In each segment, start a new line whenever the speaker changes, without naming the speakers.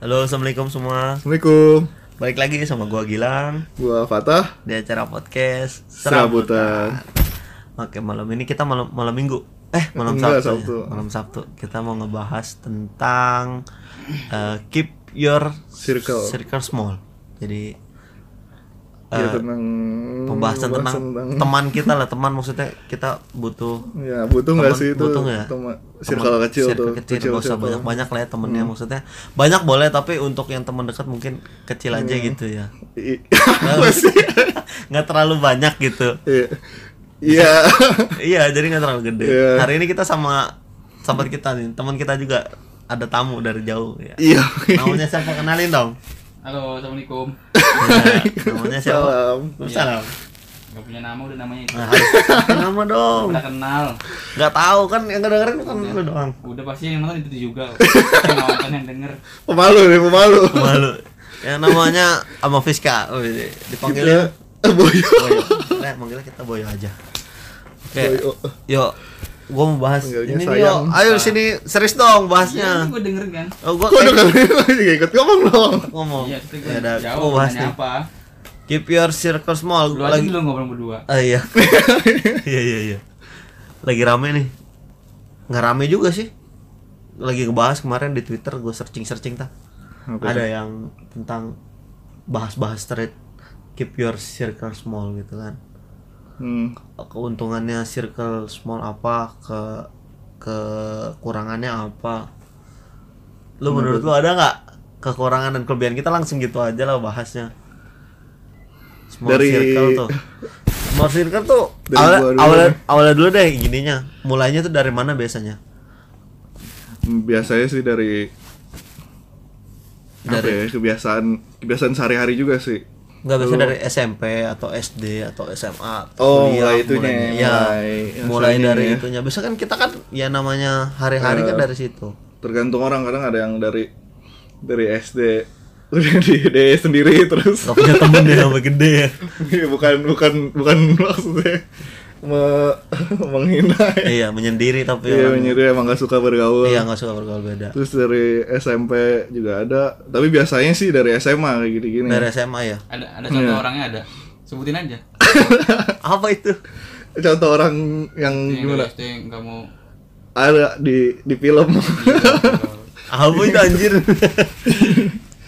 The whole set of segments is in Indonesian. Halo, assalamualaikum semua.
Assalamualaikum.
Balik lagi sama gua Gilang
Gua Fatah.
di acara podcast
Serabutan.
Oke, malam ini kita malam malam Minggu. Eh, malam Sabtu.
Enggak,
ya.
Sabtu.
Malam Sabtu kita mau ngebahas tentang eh, keep your
Circle.
circle small. Jadi
ya tentang
Eh, pembahasan tentang, teman kita lah, teman maksudnya kita butuh
Ya butuh nggak
Teman-
sih itu?
butuh nggak?
Teman circle
teman-
kecil
circle
tuh. Hmm.
kecil, nggak usah
circle.
banyak-banyak lah ya temennya maksudnya banyak boleh tapi untuk yang teman dekat mungkin kecil
Hmm.
aja gitu ya
I- Apa sih?
Nah, nggak terlalu banyak gitu
Iya. Iya.
iya jadi nggak terlalu gede
Iya.
hari ini kita sama sahabat kita nih teman kita juga ada tamu dari jauh ya
Iya.
namanya siapa kenalin dong
Halo, assalamualaikum.
Ya, namanya siapa
Salam.
salam
Gak punya nama udah namanya itu.
nah, harus kasih nama dong
Udah kenal.
nggak tahu kan yang dengerin kan lu doang
Udah pasti yang nonton itu juga. yang nonton yang denger.
Pemalu nih pemalu.
malu yang namanya sama Fiska Oh, ini.
Gitu.
dipanggilnya
Kita boyo.
Boyo. Nah, manggilnya kita Boyo aja. Oke.
Boyo.
Yuk, gua mau bahas
Manggilnya
ini nih,
sayang.
yuk. Ayo sini serius
Ah. Iya,
dong bahasnya.
gue denger kan.
Oh, gua
Kok udah
kayak
kali juga ikut ngomong dong.
ngomong.
Iya, tapi gue
Ya udah, gua
jawab
mau bahas
bahasnya
nih.
apa.
Keep your circle small.
Lu
Gua
aja
lagi
belum ngobrol berdua.
Ah iya. Iya iya iya. Lagi rame nih. Nggak rame juga sih. Lagi ngebahas kemarin di Twitter gue searching-searching ta.
Apa
Ada yang tentang bahas-bahas thread keep your circle small gitu kan.
Hmm.
keuntungannya circle small apa ke kekurangannya apa lu menurut lu ada nggak kekurangan dan kelebihan kita langsung gitu aja lah bahasnya small
Dari-
circle tuh small circle tuh
Dari
awalnya,
gua dulu
awalnya, awalnya dulu deh gininya mulainya tuh dari mana biasanya
Biasanya sih dari apa
Dari-
ya, kebiasaan kebiasaan sehari-hari juga sih.
nggak biasanya dari SMP atau SD atau SMA atau
Oh, mulai itunya,
mulainya. ya
mulai
mulai
asalnya
dari
ya.
itunya biasanya kan kita kan ya namanya hari-hari kan
Eh,
dari situ
tergantung orang kadang ada yang dari dari SD udah di DE sendiri terus
Gak punya temen ya sampai gede ya
Iya, bukan bukan bukan maksudnya me- menghina ya.
Iya menyendiri tapi
iya
orang-
menyendiri emang gak suka bergaul
Iya gak suka bergaul beda
terus dari SMP juga ada tapi biasanya sih dari SMA kayak gini gini
Dari SMA ya
Ada ada contoh
Iya.
orangnya ada. Sebutin aja.
Apa itu?
contoh orang yang
Yang
gimana
dari SD yang gak mau.
ada di di film
Iya, Apa itu anjir?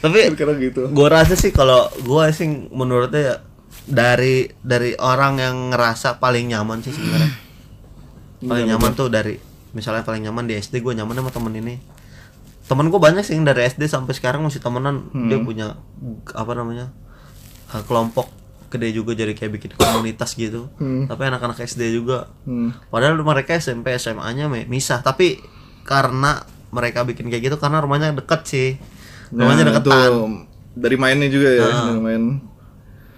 tapi
karena gitu
gue rasa sih kalau gue sih menurutnya ya, dari dari orang yang ngerasa paling nyaman sih sebenarnya
Iya,
paling nyaman tuh dari misalnya paling nyaman di SD gue nyaman sama temen ini temen gue banyak sih yang dari SD sampai sekarang masih temenan
Hmm.
dia punya apa namanya eh, kelompok gede juga jadi kayak bikin komunitas gitu tapi anak-anak SD juga
Hmm.
Padahal mereka SMP SMA-nya mi- misah, tapi karena mereka bikin kayak gitu karena rumahnya deket sih. Rumahnya
Nah,
deketan.
itu dari mainnya juga ya dari main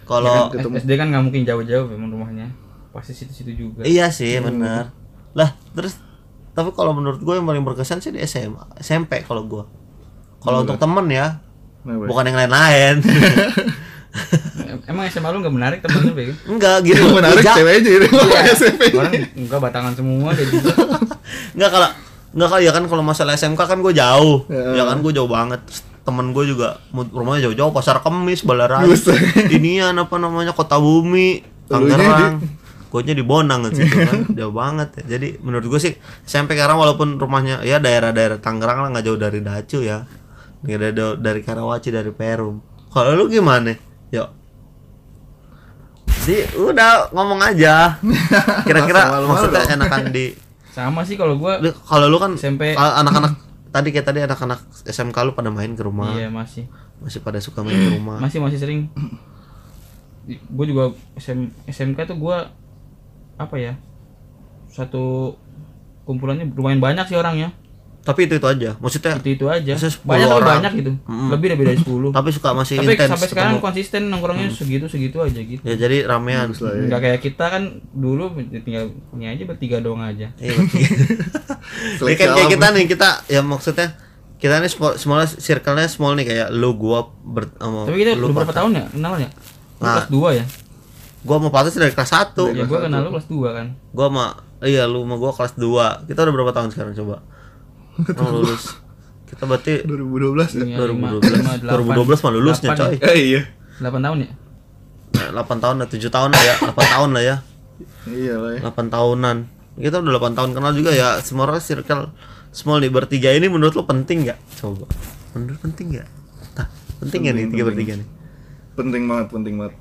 Kalau
SD kan gak mungkin jauh-jauh memang rumahnya. Pasti situ-situ juga.
iya sih
Hmm.
benar. Lah, terus tapi kalau menurut gue yang paling berkesan sih di SMA, SMP kalau gue. Kalau untuk temen ya,
Kenapa?
bukan yang lain-lain.
Emang SMA lu gak menarik temen lu, Bego?
Enggak gitu.
yang menarik
Ija-
cewek aja ini SMP
Orang enggak batangan semua gitu. dia juga.
Enggak kalau enggak kali ya kan kalau masalah SMK kan gue jauh. Ya kan gue jauh banget. Terus Temen gue juga mu- rumahnya jauh-jauh pasar Kemis, Balaraja.
Buset.
Inian apa namanya Kota Bumi,
Elunya
Tangerang. Gue di Bonang gitu kan, jauh banget ya. Jadi menurut gue sih SMP Karawang walaupun rumahnya ya daerah-daerah Tangerang lah nggak jauh dari Dacu ya. Nggak ada jauh dari Karawaci dari Perum. Kalau lu gimana? Yuk. Jadi udah ngomong aja.
Masa
Kira-kira
malu-malu
maksudnya
dong.
enakan di
Sama sih kalau gua
Lu- kalau lu kan
SMP.
a- anak-anak tadi kayak tadi anak-anak SMK lu pada main ke rumah
Iya, Hmm. masih.
masih pada suka main ke rumah
masih masih sering gue juga SM, SMK tuh gue apa ya satu kumpulannya lumayan banyak sih orangnya
tapi itu itu aja maksudnya
itu itu aja
Ya. Maksudnya 10
banyak tapi
orang.
banyak gitu lebih dari dari sepuluh
tapi suka masih
tapi
intens
sampai sekarang
ketemu. Mm.
konsisten nongkrongnya segitu segitu aja gitu
ya jadi ramean
Iya.
nggak kayak kita kan dulu tinggal ini aja bertiga doang aja
Iya, berarti. Ini kan kayak kita nih kita ya maksudnya kita nih small, small circle-nya small nih kayak lu gua ber, sama
tapi kita
Oh, lu
udah berapa tahun ya kenal ya Lu
Nah.
kelas dua ya
gua mau patah dari kelas 1
ya gue kenal lu kelas dua kan
gua sama iya lu sama gua kelas 2 kita udah berapa tahun sekarang coba mau lulus Kita berarti
2012 ya?
Iya,
2012 2012 mah lulusnya coy.
Eh iya.
Delapan tahun ya?
Eh, 8 tahun lah, 7 tahun lah ya, 8 tahun lah ya.
Iya lah ya.
8 tahunan. Kita udah 8 tahun kenal juga ya. Semua orang circle small nih bertiga ini menurut lo penting nggak? Coba. Menurut penting nggak? Tah, penting nggak nih tiga bertiga nih?
Penting banget, penting banget.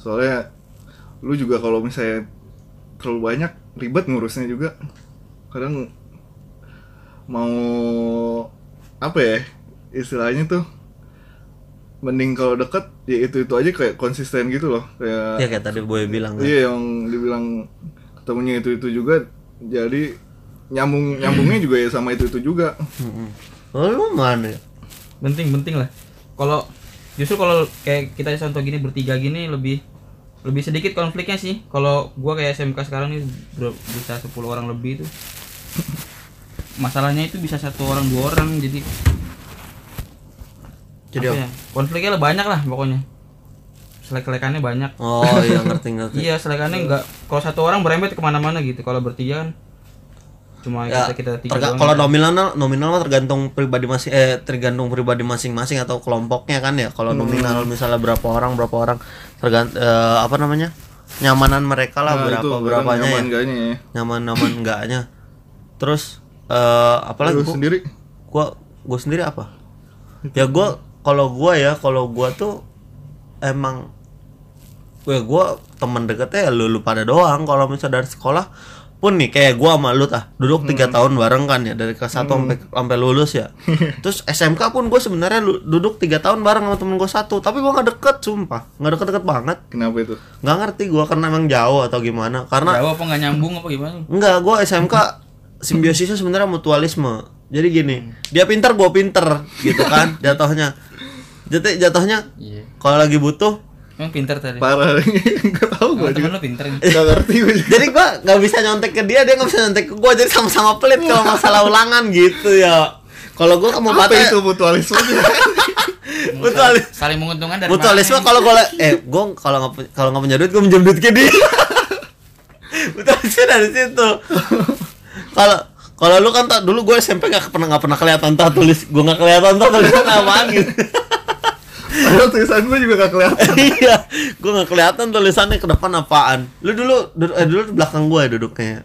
Soalnya lu juga kalau misalnya terlalu banyak ribet ngurusnya juga. Kadang mau apa ya? Istilahnya tuh mending kalau deket ya itu itu aja kayak konsisten gitu loh kayak
Iya,
Ya kayak tadi gue bilang kan.
Iya yang dibilang ketemunya itu itu juga jadi nyambung nyambungnya juga ya sama itu itu juga.
Mm-mm. Oh, lu mana? ya?
Penting penting lah. Kalau justru kalau kayak kita contoh gini bertiga gini lebih lebih sedikit konfliknya sih. Kalau gua kayak SMK sekarang nih ber- bisa 10 orang lebih itu. Masalahnya itu bisa satu orang dua orang jadi
Jadi
apa
apa?
ya? konfliknya lah banyak lah pokoknya. Selek-selekannya banyak.
Oh iya ngerti ngerti.
Iya, selekannya enggak kalau satu orang berembet kemana-mana gitu. Kalau bertiga kan cuma
Ya,
kita kita tiga
terga-
doang.
kalau nominal nominal mah tergantung pribadi masing eh tergantung pribadi masing-masing atau kelompoknya kan ya.
Hmm.
Kalau nominal misalnya berapa orang berapa orang tergant eh, apa namanya? nyamanan mereka lah
Nah,
berapa
itu, kadang
berapanya
nyaman
ya.
kayaknya ya.
nyaman-nyaman enggaknya terus eh apalagi
Lu
gua,
sendiri
gua gua sendiri apa ya gua kalau gua ya kalau gua tuh emang gue gua teman deketnya ya lu, lu pada doang kalau misalnya dari sekolah pun nih kayak gua sama lu tah duduk
Hmm.
tiga tahun bareng kan ya dari kelas satu sampai sampai lulus ya terus SMK pun gue sebenarnya lu- duduk tiga tahun bareng sama temen gue satu tapi gua nggak deket sumpah nggak deket-deket banget
kenapa itu?
nggak ngerti gua karena emang jauh atau gimana karena
Jawa apa nggak nyambung apa gimana?
Enggak, gue SMK simbiosisnya sebenarnya mutualisme. Jadi gini, dia pinter, gue pinter, gitu kan? Jatuhnya, jadi jatuhnya
Iya.
kalau lagi butuh.
Emang pinter tadi.
Parah nggak tahu gua
Emang temen
juga.
lu pinter. gitu.
Nggak ngerti gue.
Jadi gue nggak bisa nyontek ke dia, dia nggak bisa nyontek ke gue. Jadi sama-sama pelit kalau masalah ulangan gitu ya. Kalau gue kamu
Apa itu mutualisme?
mutualis.
Saling menguntungkan dari
Mutualisme kalau gue eh gue kalau nggak pu- kalau nggak punya duit gue minjem duit ke dia. Mutualisme dari situ. Kalau kalau lu kan tak dulu gue SMP nggak pernah nggak pernah kelihatan tak tulis gue nggak kelihatan tak tulis apaan gitu.
Padahal tulisan gue juga gak kelihatan.
Iya, gue nggak kelihatan tulisannya ke depan apaan. Lu dulu dulu, eh, dulu di belakang gue ya duduknya.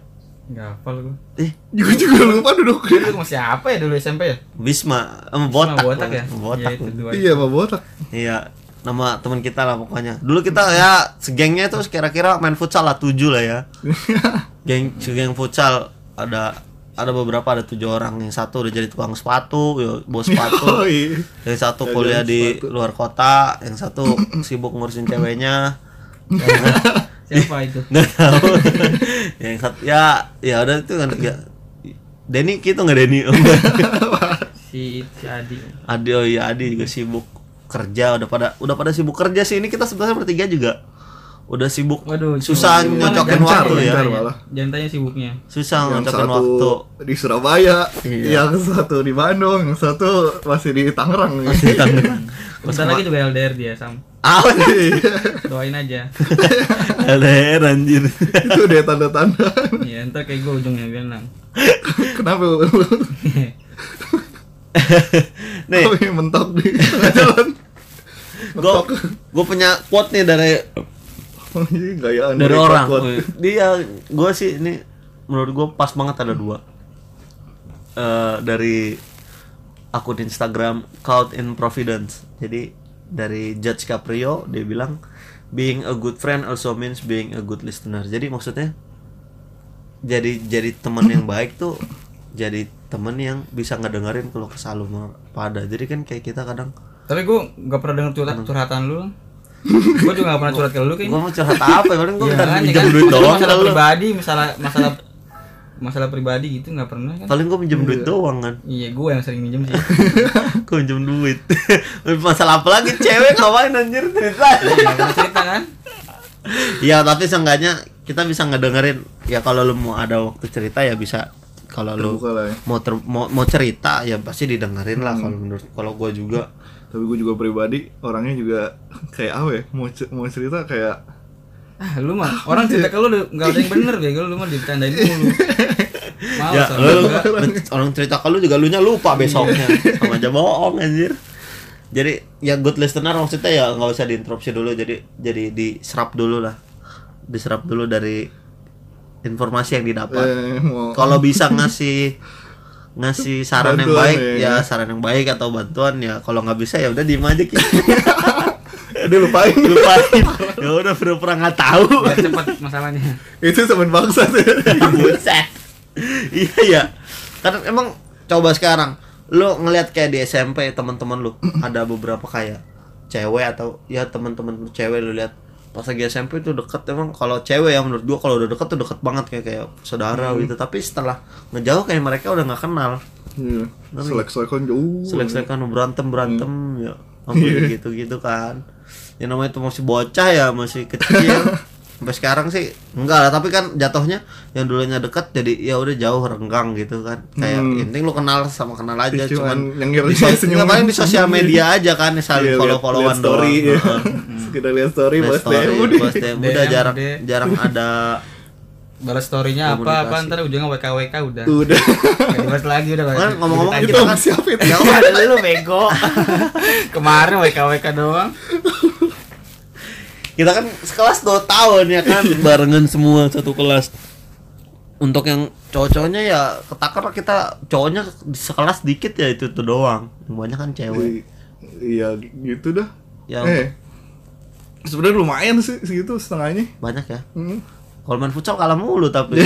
Enggak hafal gua.
Ih,
Gue juga lupa duduknya.
Itu masih apa ya dulu SMP ya?
Bisma, em, botak,
Sama botak
lu.
ya?
botak.
Iya, itu
lu.
dua.
Iya, Pak Botak.
Iya, nama teman kita lah pokoknya. Dulu kita ya segengnya itu kira-kira main futsal lah tujuh lah ya. Geng geng futsal ada ada beberapa ada tujuh orang yang satu udah jadi tukang sepatu, ya, bos sepatu.
Yoi.
Yang satu
Jajan
kuliah di
sepatu.
luar kota, yang satu sibuk ngurusin ceweknya.
Siapa itu?
nggak tahu yang satu ya ya udah itu kan ya Denny gitu nggak Denny
Si, si Adi.
Adi oh iya Adi juga sibuk kerja udah pada udah pada sibuk kerja sih ini kita sebenarnya bertiga juga udah sibuk
Waduh,
susah
cuma-
nyocokin
jangan
waktu ya
tanya,
Bentar,
jangan tanya.
malah.
Jangan tanya sibuknya.
susah
yang
nyocokin
satu
waktu
di Surabaya,
Iya.
yang satu di Bandung, yang satu masih di Tangerang.
di Tangerang
Bentar lagi juga LDR dia, Sam.
Ah,
apa sih?
iya.
Doain aja.
LDR anjir
itu deh tanda-tanda.
Iya, entar kayak gua ujungnya bilang.
Kenapa lu
nih
Kami mentok di tengah jalan?
gue gue punya quote nih dari
Oh, iya, gayaan
dari
mereka
orang
kuat.
dia gue Iya, sih ini menurut gue pas banget ada dua Eh, dari akun Instagram Caught in Providence jadi dari Judge Caprio dia bilang being a good friend also means being a good listener jadi maksudnya jadi jadi teman yang baik tuh jadi temen yang bisa ngedengerin kalau kesal lu mau pada jadi kan kayak kita kadang
Tapi gua nggak pernah denger curhat curhatan lu. Gua juga nggak pernah curhat ke lu
gue
kayaknya.
mau curhat apa ya paling gue
Iya,
minta
kan,
minjem
kan?
duit
Masalah-
doang
Masalah
kalau lu.
pribadi, masalah masalah masalah pribadi gitu nggak pernah kan?
paling gue minjem duit doang kan
Iya, gue yang sering minjem sih.
Kau minjem duit Masalah apa lagi cewek ngapain anjir cerita
Iya, nggak pernah cerita kan?
Ya tapi seenggaknya kita bisa ngedengerin Ya kalau lu mau ada waktu cerita ya bisa Kalau lu
Terbuka lah ya.
mau, ter- mau, mau cerita ya pasti didengerin lah kalau menurut kalau gua juga
Tapi gue juga pribadi orangnya juga kayak apa ya? Mau ce- mau cerita kayak
Ah, lu mah orang cerita ke lu udah- nggak ada yang bener bego lu mah ditandain mulu. Males,
ya,
orang
lu,
juga.
lu- orang cerita ke lu juga lu nya lupa besoknya. Sama aja bohong anjir. Jadi ya good listener maksudnya ya nggak usah diinterupsi dulu jadi jadi diserap dulu lah. Diserap dulu dari informasi yang didapat.
Eh, mau
Kalau bisa ngasih ngasih saran yang
Bantuan
baik ya
ya.
saran yang baik atau bantuan ya kalau nggak bisa ya udah diem aja gitu
dia lupain
lupain ya udah pura-pura nggak tahu
biar cepat masalahnya
itu teman bangsa tuh
Buset. Iya ya. Kan emang coba sekarang lu ngelihat kayak di SMP teman-teman lu ada beberapa kayak cewek atau ya teman-teman lu cewek lu lihat pas lagi SMP itu deket emang kalau cewek ya menurut gua kalau udah deket tuh deket banget kayak kayak saudara gitu tapi setelah ngejauh kayak mereka udah nggak kenal
Iya, selek-selekan uh. jauh
selek-selekan berantem berantem ya sampai gitu-gitu kan ya namanya itu masih bocah ya masih kecil sampai sekarang sih enggak lah tapi kan jatuhnya yang dulunya dekat jadi ya udah jauh renggang gitu kan kayak
Hmm.
intinya lu kenal sama kenal aja
Cuman
cuman
yang
di,
ngirim
sos- nggak, paling di sosial media aja kan ya, saling
Iya,
follow
lihat- lihat
followan
story
doang
ya.
Heeh.
sekedar lihat story
Lihat
bos
story,
DM udah.
bos DM, udah
DM,
jarang
deh.
jarang ada
balas storynya apa apa
Komunikasi.
ntar ujungnya WK WK udah
udah
Gak dibahas lagi udah
kan ngomong-ngomong
Itu
kita
sama
kan
siapa itu?
Ya,
Gak ada lu bego Kemarin WKWK doang
kita kan sekelas 2 tahun ya kan barengan semua satu kelas untuk yang cowok-cowoknya ya ketakar kita cowoknya di sekelas dikit ya itu tuh doang yang banyak kan cewek
I- iya gitu dah
Ya.
eh sebenarnya lumayan sih segitu setengahnya
banyak ya
Hmm.
kalau main futsal kalah mulu tapi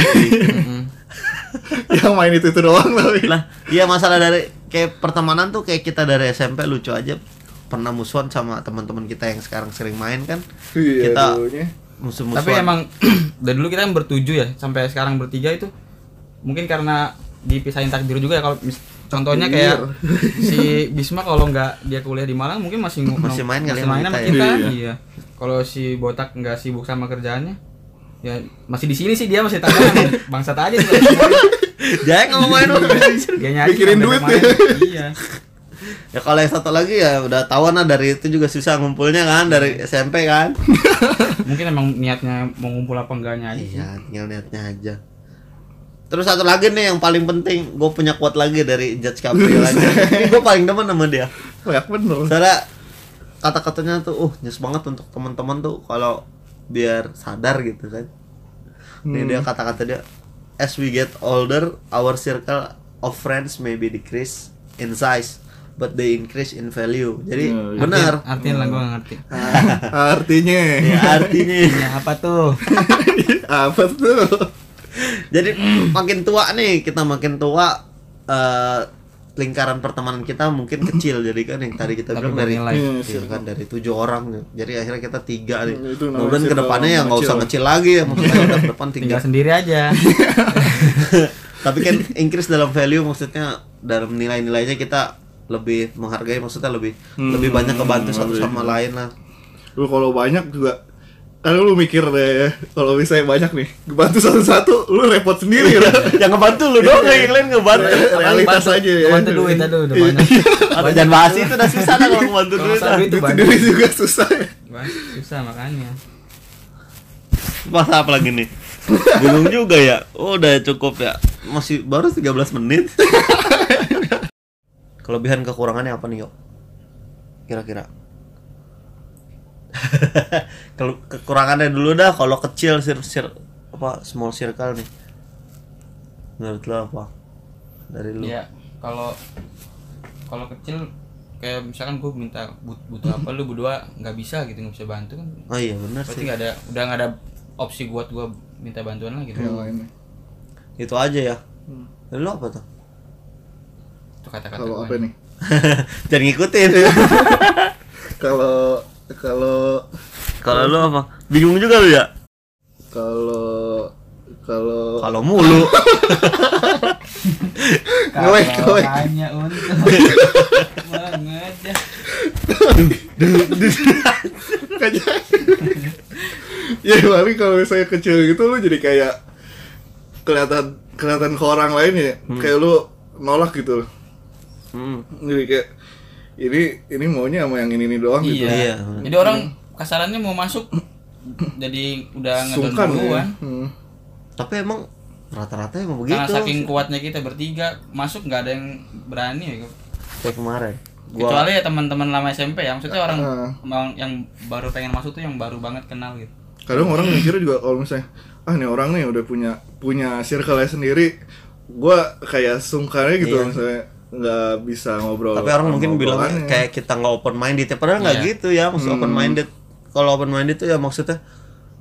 yang main itu itu doang tapi
lah iya masalah dari kayak pertemanan tuh kayak kita dari SMP lucu aja pernah musuhan sama teman-teman kita yang sekarang sering main kan
Iya,
kita
dulunya.
musuh-musuhan
Tapi emang Dari dulu kita kan bertujuh ya Sampai sekarang bertiga itu Mungkin karena Dipisahin takdir juga ya kalau mis- Contohnya kayak Si Bisma kalau nggak Dia kuliah di Malang Mungkin masih ng-
Masih main kali
masih
sama
main
kita
sama
ya?
kita
Iya.
Iya Kalau si Botak nggak sibuk sama kerjaannya Ya masih di sini sih dia masih tangan bangsat aja sih.
jangan ngomong main lu.
dia nyari
Pikirin
sampai
duit
kemarin. Iya.
Ya kalau yang satu lagi ya udah tahu nah dari itu juga susah ngumpulnya kan dari SMP kan.
Mungkin emang niatnya mau ngumpul apa enggaknya aja. sih.
iya, tinggal niatnya aja. Terus satu lagi nih yang paling penting, gue punya quote lagi dari Judge Caprio lagi. Ini gue paling demen sama dia.
banyak bener
Soalnya kata-katanya tuh uh nyes banget untuk teman-teman tuh kalau biar sadar gitu kan. Ini
Hmm.
dia kata-kata dia as we get older our circle of friends may be decrease in size but they increase in value. Jadi
Iya, iya.
benar.
Artinya lah gua nggak ngerti.
Ah, artinya
Ya artinya
Iya.
Ya apa tuh?
apa tuh
Jadi makin tua nih kita makin tua eh, lingkaran pertemanan kita mungkin kecil jadi kan yang tadi kita
Tapi
bilang dari
bernilai.
Iya,
iya kan dari tujuh orang jadi akhirnya kita tiga nih
Hmm, itu namanya
kemudian
circle
kedepannya ya nggak usah
kecil.
kecil lagi ya maksudnya udah ke depan tiga
Tinggal sendiri aja.
tapi kan increase dalam value maksudnya dalam nilai-nilainya kita lebih menghargai maksudnya lebih lebih banyak kebantu satu
lebih.
sama lain lah
lu kalau banyak juga kan lu mikir deh kalau misalnya banyak nih bantu satu-satu lu repot sendiri kan?
Iya, yang ngebantu lu dong Iya, yang lain ngebantu
realitas
Bantu-
aja ya
Bantu duit aduh udah banyak.
Atau jangan bahas itu udah susah lah kalau ngebantu
Kalau
duit
masalah
lah.
duit tuh
Duit
banyak.
sendiri juga susah ya
Wah, susah makanya.
Masa apa lagi nih? Bingung juga ya. Oh, udah cukup ya. Masih baru 13 menit. Kelebihan kekurangannya apa nih, Yo? Kira-kira. Kalau kekurangannya dulu dah kalau kecil sir, sir apa small circle nih. Menurut lo apa? Dari lu.
Iya, kalau kalau kecil kayak misalkan gua minta but- butuh apa lu berdua nggak bisa gitu nggak bisa bantu kan
Oh iya benar
berarti
sih.
nggak ada udah nggak ada opsi buat gua minta bantuan lagi
Iya,
gitu
Itu aja ya. Dari lu apa tuh?
itu kata-kata
Hmm, kalau
gua.
apa nih
Jangan ngikutin.
kalau kalau
Kalau lu apa? Bingung juga lu ya?
kalau kalau
Kalau mulu.
Ngewek,
Kalau
ngewek.
hanya untuk banget ya.
Makanya. ya tapi kalau misalnya kecil gitu lu jadi kayak kelihatan kelihatan ke orang lain ya kayak lu nolak gitu
Hmm.
jadi kayak ini ini maunya sama yang ini ini doang gitu
Iya.
Iya. Jadi orang
Iya,
kasarannya mau masuk jadi udah ngedon
sungkan ya
duluan.
Hmm.
Tapi emang rata-rata emang begitu
Karena saking kuatnya kita bertiga, masuk nggak ada yang berani ya.
kayak kemarin gua
Kecuali ya teman-teman lama SMP ya, maksudnya orang
Heeh.
orang yang baru pengen masuk tuh yang baru banget kenal gitu.
kadang orang mikirnya juga kalau misalnya ah nih orang nih udah punya punya circle sendiri gua kayak sungkannya gitu misalnya nggak bisa ngobrol
Iya. tapi orang
sama
mungkin bilang
obrolannya.
kayak kita nggak open minded ya padahal nggak
Iya.
gitu ya maksud open minded kalau open minded tuh ya maksudnya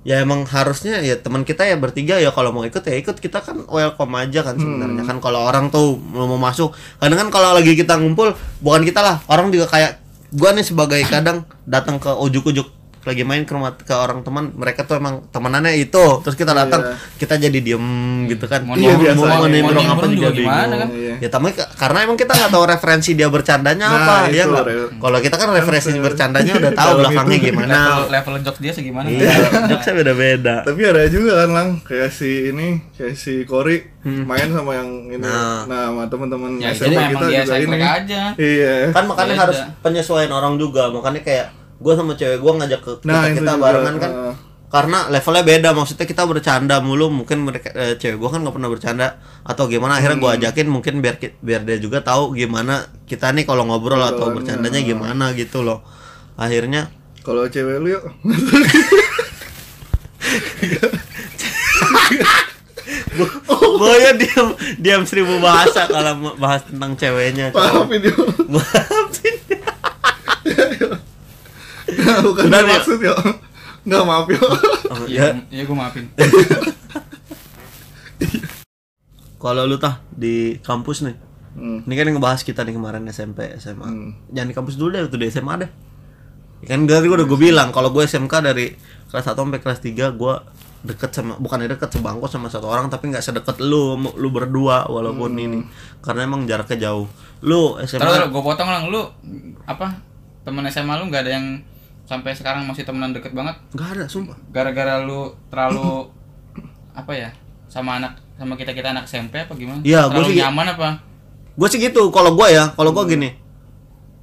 ya emang harusnya ya teman kita ya bertiga ya kalau mau ikut ya ikut kita kan welcome aja kan sebenarnya kan kalau orang tuh mau mau masuk kadang kan kalau lagi kita ngumpul bukan kita lah orang juga kayak gua nih sebagai kadang datang ke ujuk-ujuk lagi main ke rumah ke orang teman mereka tuh emang temenannya itu terus kita datang kita jadi diem gitu kan
Mau
Iya,
mau-
biasanya.
mau nimbrung
Mau
apa
nimbrung
juga
juga gimana
bingung.
kan?
Iya.
Ya tapi ke- karena emang kita nggak tahu referensi dia bercandanya
Nah,
apa, ya
itu,
nggak.
Rel.
Kalau kita kan referensi
Langsung.
bercandanya udah tahu
Kalau
belakangnya
gitu.
Iya, gimana.
Level level jokes dia segimana?
Iya, jokesnya beda-beda.
tapi ada juga kan lang kayak si ini kayak si Kori main sama yang ini
Nah.
nah, sama teman-teman
Hmm. Ya,
SMA
jadi emang
kita
dia
juga ini
saklek aja.
iya
Kan makanya
Beda.
harus penyesuaian orang juga. Makanya kayak gue sama cewek gue ngajak ke kita,
Nah, itu
kita
juga,
barengan kan.
uh.
Karena levelnya beda, maksudnya kita bercanda mulu, mungkin mereka eh, cewek gue kan nggak pernah bercanda atau gimana. Akhirnya
Hmm.
gue ajakin mungkin biar ki- biar dia juga tahu gimana kita nih kalau ngobrol atau
Obrolannya.
bercandanya gimana gitu loh. Akhirnya
kalau cewek lu yuk
Boyo ya diam diam seribu bahasa kalau mau bahas tentang ceweknya.
paham video
Maafin.
nah, bukan
Benar, yuk.
maksud yuk nggak maaf yuk
Ya,
Iya, iya gue maafin.
kalau lu tah di kampus nih.
Hmm.
Ini kan yang ngebahas kita nih kemarin SMP, SMA.
Hmm.
Jangan di kampus dulu deh, tuh di SMA deh. Ya kan dari gua udah gue bilang kalau gue SMK dari kelas 1 sampai kelas 3 gue deket sama bukannya deket sebangku sama satu orang tapi nggak sedekat lu lu berdua
Hmm.
walaupun ini karena emang jaraknya jauh lu
Terus
SMA
gue potong lang lu apa temen SMA lu nggak ada yang sampai sekarang masih temenan deket banget
nggak ada sumpah
gara-gara lu terlalu apa ya sama anak sama kita kita anak SMP apa gimana?
Iya, gua
terlalu
sih-
nyaman apa?
gue sih gitu kalau gue ya kalau gue
Hmm.
gini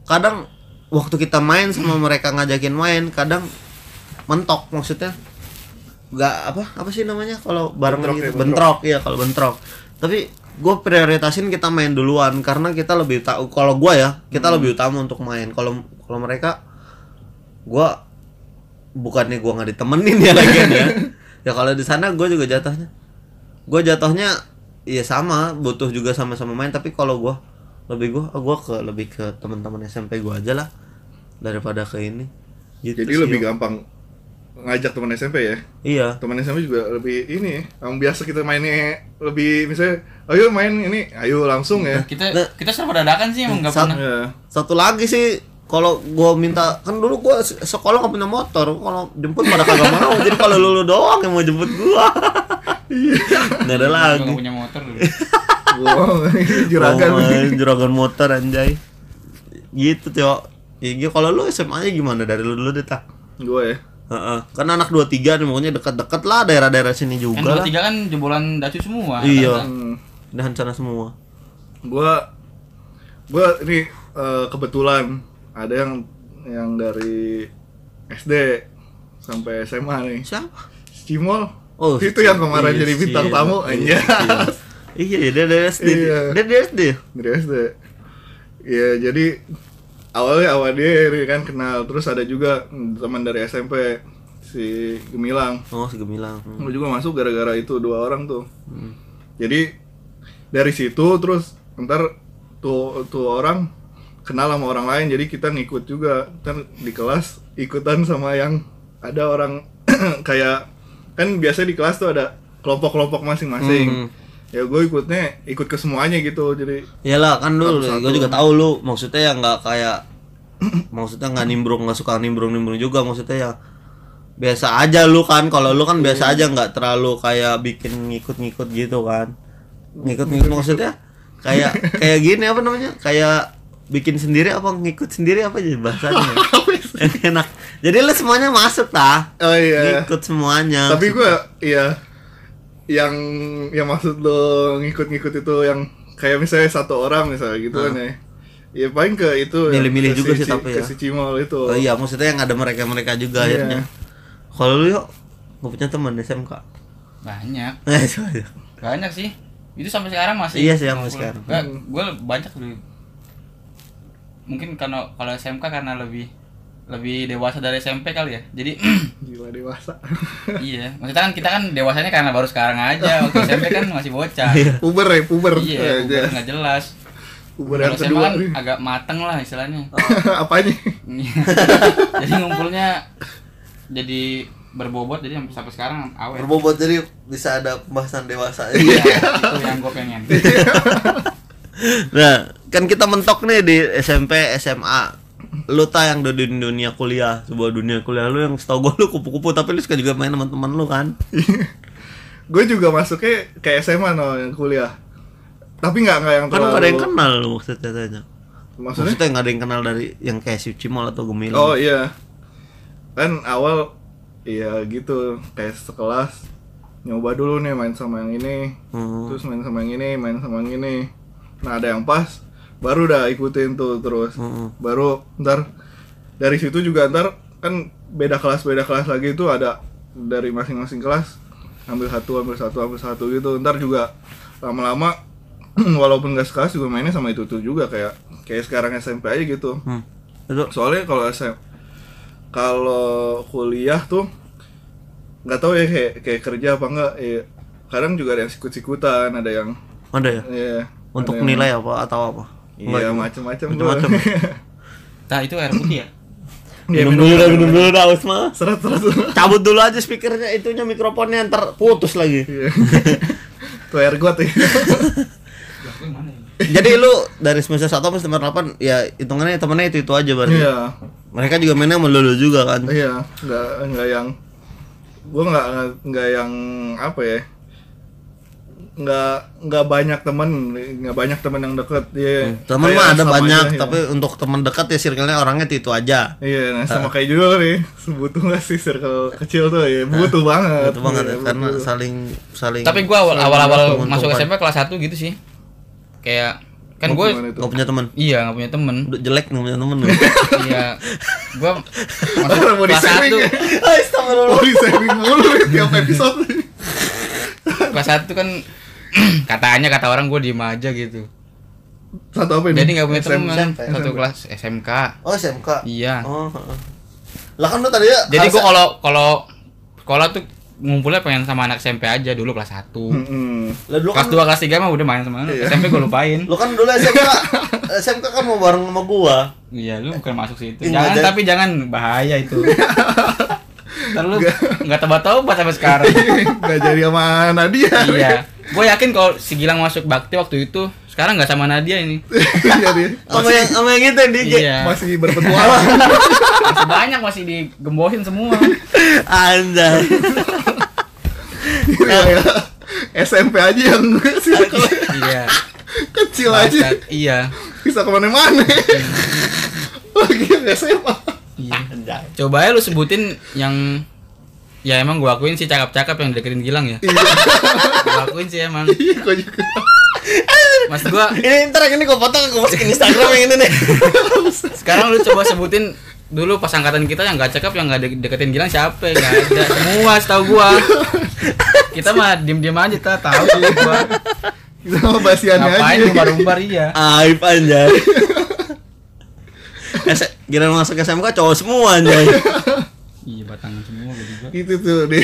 kadang waktu kita main sama mereka ngajakin main kadang mentok maksudnya nggak apa apa sih namanya kalau bareng
Bentrok
gitu
ya,
bentrok. ya kalau bentrok tapi gue prioritasin kita main duluan karena kita lebih tahu kalau gue ya kita
Hmm.
lebih utama untuk main kalau kalau mereka gue bukannya gue nggak ditemenin ya lagi ya ya kalau di sana gue juga jatuhnya gue jatuhnya ya sama butuh juga sama-sama main tapi kalau gue lebih gue gue ke lebih ke teman-teman SMP gue aja lah daripada ke ini gitu
jadi
sih,
lebih
Om.
gampang ngajak teman SMP ya
iya
teman SMP juga lebih ini yang biasa kita mainnya lebih misalnya ayo main ini ayo langsung ya
Kita
Nah.
kita serba dadakan sih emang nggak
Sat-
pernah.
ya
satu lagi sih kalau gue minta kan dulu gue sekolah gak punya motor kalau jemput pada kagak mau jadi kalau lu, lu doang yang mau jemput gue
Iya.
nggak ada
Gua
lagi
nggak punya motor dulu.
wow juragan
Roman, Oh, iya, juragan motor anjay gitu Tio ya, gitu. kalau lu SMA nya gimana dari lu dulu deh tak
gue ya
Heeh. kan anak 23 nih pokoknya dekat-dekat lah daerah-daerah sini
Kan
juga
dua
lah
tiga kan jebolan dacu semua.
Iya.
rata-rata.
Hmm.
dan sana semua
gue gue ini eh, kebetulan ada yang yang dari SD sampai SMA nih
siapa
Cimol
Oh,
itu
si-
yang kemarin
iya,
jadi bintang
iya,
tamu
iya,
aja
iya iya, dia dari SD
Iya.
dia dari SD
dari SD ya jadi awalnya awal dia ini kan kenal terus ada juga teman dari SMP si Gemilang
oh segemilang hmm.
gue juga masuk gara-gara itu dua orang tuh jadi dari situ terus ntar tuh tuh orang kenal sama orang lain jadi kita ngikut juga ntar di kelas ikutan sama yang ada orang kayak kan biasanya di kelas tuh ada kelompok-kelompok masing-masing
Mhm.
ya gue ikutnya ikut ke semuanya gitu jadi
Iyalah kan lu,
Satu-satu.
gue juga tahu lu maksudnya ya nggak kayak maksudnya nggak nimbrung nggak suka nimbrung nimbrung juga maksudnya ya biasa aja lu kan kalau lu kan biasa
Iya.
aja nggak terlalu kayak bikin ngikut-ngikut gitu kan ngikut-ngikut maksudnya kayak kayak gini apa namanya kayak bikin sendiri apa ngikut sendiri apa jadi bahasanya enak jadi lu semuanya masuk tah
oh iya
ngikut semuanya
tapi gue iya yang yang maksud lo ngikut-ngikut itu yang kayak misalnya satu orang misalnya gitu kan ya ya paling ke itu
Ah.
yang
Milih-milih
ke
juga
si
sih
Ci-
tapi ya.
ke si Cimol itu
oh iya maksudnya yang ada mereka mereka juga
Iya.
akhirnya kalau lu yuk gak punya teman SMK
Banyak.
Eh, sorry.
Banyak sih. Itu sampai sekarang masih.
Iya sih, sampai
50.
sekarang.
Nggak, gue banyak dulu. Mungkin karena kalau SMK karena lebih lebih dewasa dari SMP kali ya. Jadi
Gila dewasa.
iya, maksudnya kan kita kan dewasanya karena baru sekarang aja. Waktu SMP kan masih bocah.
Iya.
puber ya, puber. Aja.
iya, uber nggak jelas.
Puber yang
Kalau SMA
kedua.
kan agak Oh. mateng lah istilahnya. Iya.
Apanya?
jadi ngumpulnya jadi berbobot jadi sampai- sampai sekarang awet.
Berbobot jadi bisa ada pembahasan dewasa.
Iya, itu yang gue pengen.
nah, kan kita mentok nih di SMP, SMA. Lu ta yang udah di dunia kuliah, sebuah dunia kuliah lu yang setahu gua lu kupu-kupu tapi lu suka juga main sama teman lu kan?
Gue juga masuknya ke SMA no yang kuliah. Tapi nggak nggak yang
Kan
terlalu.
gak ada yang kenal lu maksudnya tanya.
Maksudnya?
Maksudnya nggak ada yang kenal dari yang kayak si Cimol atau Gemilang.
Oh iya. Kan awal iya gitu kayak sekelas nyoba dulu nih main sama yang ini,
Hmm.
terus main sama yang ini, main sama yang ini. Nah, ada yang pas baru udah ikutin tuh terus.
Mm-mm.
Baru ntar dari situ juga ntar kan beda kelas beda kelas lagi itu ada dari masing-masing kelas ambil satu ambil satu ambil satu gitu ntar juga lama-lama walaupun gak sekelas juga mainnya sama itu tuh juga kayak kayak sekarang SMP aja gitu
Hmm. Itu
soalnya kalau SM kalau kuliah tuh nggak tahu ya kayak kayak kerja apa enggak ya kadang juga ada yang sikut-sikutan ada yang
ada ya?
ya
Untuk nilai apa gitu? atau apa? Nggak
iya
juga.
macam-macam
Macam-macam.
gua.
Nah, itu air putih ya?
Iya,
minum dulu dah, minum dulu dah Usma.
seret seret seret.
Cabut dulu aja speakernya, itunya mikrofonnya ntar putus lagi.
Iya. tuh air got ya
Lah, gue mana ya?
Jadi lu dari semester 1 sampai semester 8 ya hitungannya temennya itu itu aja berarti.
iya
Mereka juga mainnya sama lulu juga kan.
iya nggak nggak yang gua nggak nggak yang apa ya nggak nggak banyak temen nggak banyak temen yang deket ya
Temen mah ada banyak, tapi untuk temen dekat ya circle-nya orangnya itu itu aja.
Iya, nah sama kayak judul nih, butuh gak sih circle kecil tuh ya, butuh banget.
Itu banget
Iya,
ya, karena
butuh.
saling saling
Tapi gue awal awal, awal
Iya. Teman-teman.
masuk SMP kelas 1 gitu sih. Kayak kan
Mau
gue
gimana itu?
nggak punya teman.
iya nggak punya temen.
Udah jelek nggak punya teman.
iya, gue
Orang
masuk
mau
kelas
di-sharing
satu
ya? Oh, di saving mulu ya, tiap episode.
kelas satu kan katanya kata orang gue diem aja gitu.
Satu apa ini?
Jadi nggak punya
SM.
temen
SMP.
satu kelas SMK.
Oh, SMK.
Iya.
Oh. heeh. Lah kan lu tadi ya
Jadi gue
harusnya-
kalau kalau sekolah tuh ngumpulnya pengen sama anak SMP aja dulu kelas 1
Mm-mm.
Lah dulu kan
Kelas 2, kelas 3 mah udah main sama anak.
Hmm. Iya.
SMP gue lupain.
lu kan dulu SMK SMK kan mau bareng sama gua.
Iya, lu bukan masuk situ.
Ih, nggak
Jangan,
jadi.
tapi jangan bahaya itu. Ntar lu nggak tobat-tobat sampai sekarang.
Nggak jadi sama Nadia.
iya. Gue yakin kalau si Gilang masuk bakti waktu itu, sekarang nggak sama Nadia ini.
jadi
Sama yang sama yang itu yang di IG.
iya. Masih,
masih berpetualang.
banyak masih digembosin semua.
Anjay.
Iya, ya. SMP aja yang circle
iya.
kecil aja
Bangsat. Iya.
bisa kemana-mana. Lagi yang SMA.
Iya. Coba ya lu sebutin yang ya emang gua akuin sih cakap-cakap yang deketin Gilang ya. gua akuin sih emang.
Iya, kok juga.
Mas gua
ini ntar yang ini gue potong gue masukin Instagram yang ini nih
Sekarang lu coba sebutin dulu pas angkatan kita yang gak cakep yang gak de- deketin Gilang siapa ya gak ada semua setahu gua kita mah diem diem aja tak tahu sih gua
Kita sama basiannya
ngapain
aja.
umbar umbar iya
aib anjay Es- Gila masuk SMK cowok semua anjay
iya batangan semua gua juga
Itu tuh di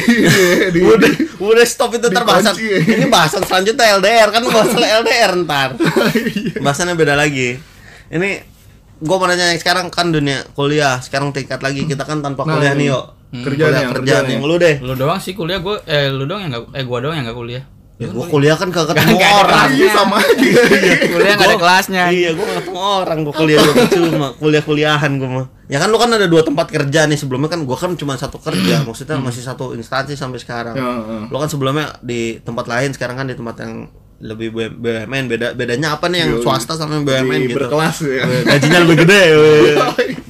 di
Udah, udah stop itu ntar
Dikunci.
bahasan Ini bahasan selanjutnya LDR Kan bahasan LDR ntar
Iya.
Bahasannya beda lagi Ini Gue mau nanya sekarang kan dunia kuliah Sekarang tingkat lagi Kita kan tanpa
Nah,
kuliah nih
ini.
yuk
Kerja
Kuliah
nih, yang
kerjaan
kerja
yang
nih.
lu deh
lu doang sih kuliah gua eh lu doang yang gak eh gua doang yang gak kuliah
Ya gue kuliah kan kagak ketemu
Gak ada
orang
kelas.
Iya sama aja.
kuliah gak ada
Gua-
kelasnya
Iya, gua nggak ketemu orang, gua kuliah gua cuma kuliah-kuliahan gua mah. Ya kan lu kan ada dua tempat kerja nih sebelumnya kan gua kan cuma satu kerja, maksudnya masih satu instansi sampai sekarang.
Ya, ya.
Lu kan sebelumnya di tempat lain, sekarang kan di tempat yang lebih B- BUMN. Beda bedanya apa nih yang
Yoi.
swasta sama yang BUMN
Iya, Di
gitu?
berkelas ya.
Gajinya lebih gede. weh.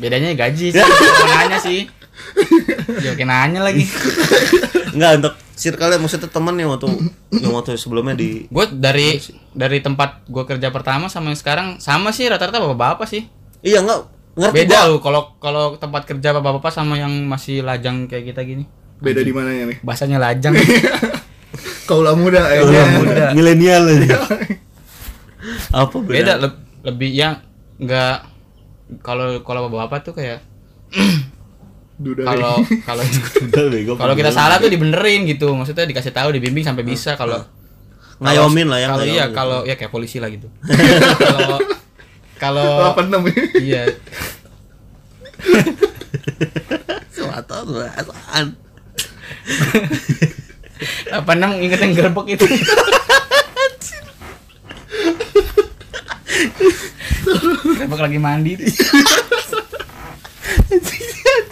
bedanya gaji sih Gua nanya sih Jokin nanya lagi
Enggak untuk circle maksudnya temen yang waktu yang waktu sebelumnya di
Gue dari dari tempat gue kerja pertama sama yang sekarang sama sih rata-rata bapak-bapak sih.
Iya enggak ngerti gua.
Beda loh kalau kalau tempat kerja bapak-bapak sama yang masih lajang kayak kita gini.
Beda di mananya nih?
Bahasanya lajang.
kaulah muda
Kaulah
akhirnya
muda. ya. Milenial aja. Apa
beda
beda?
leb- lebih yang nggak kalau kalau bapak tuh kayak
duda
kalau kalau kalau kita salah tuh dibenerin gitu maksudnya dikasih tahu dibimbing sampai bisa kalau
Ah, ngayomin lah yang
kalau iya
ngayomin.
kalau ya kayak polisi lah gitu kalau kalau
delapan enam ya?
iya
suatu perasaan.
apa nam inget yang gerbek itu gerbek lagi mandi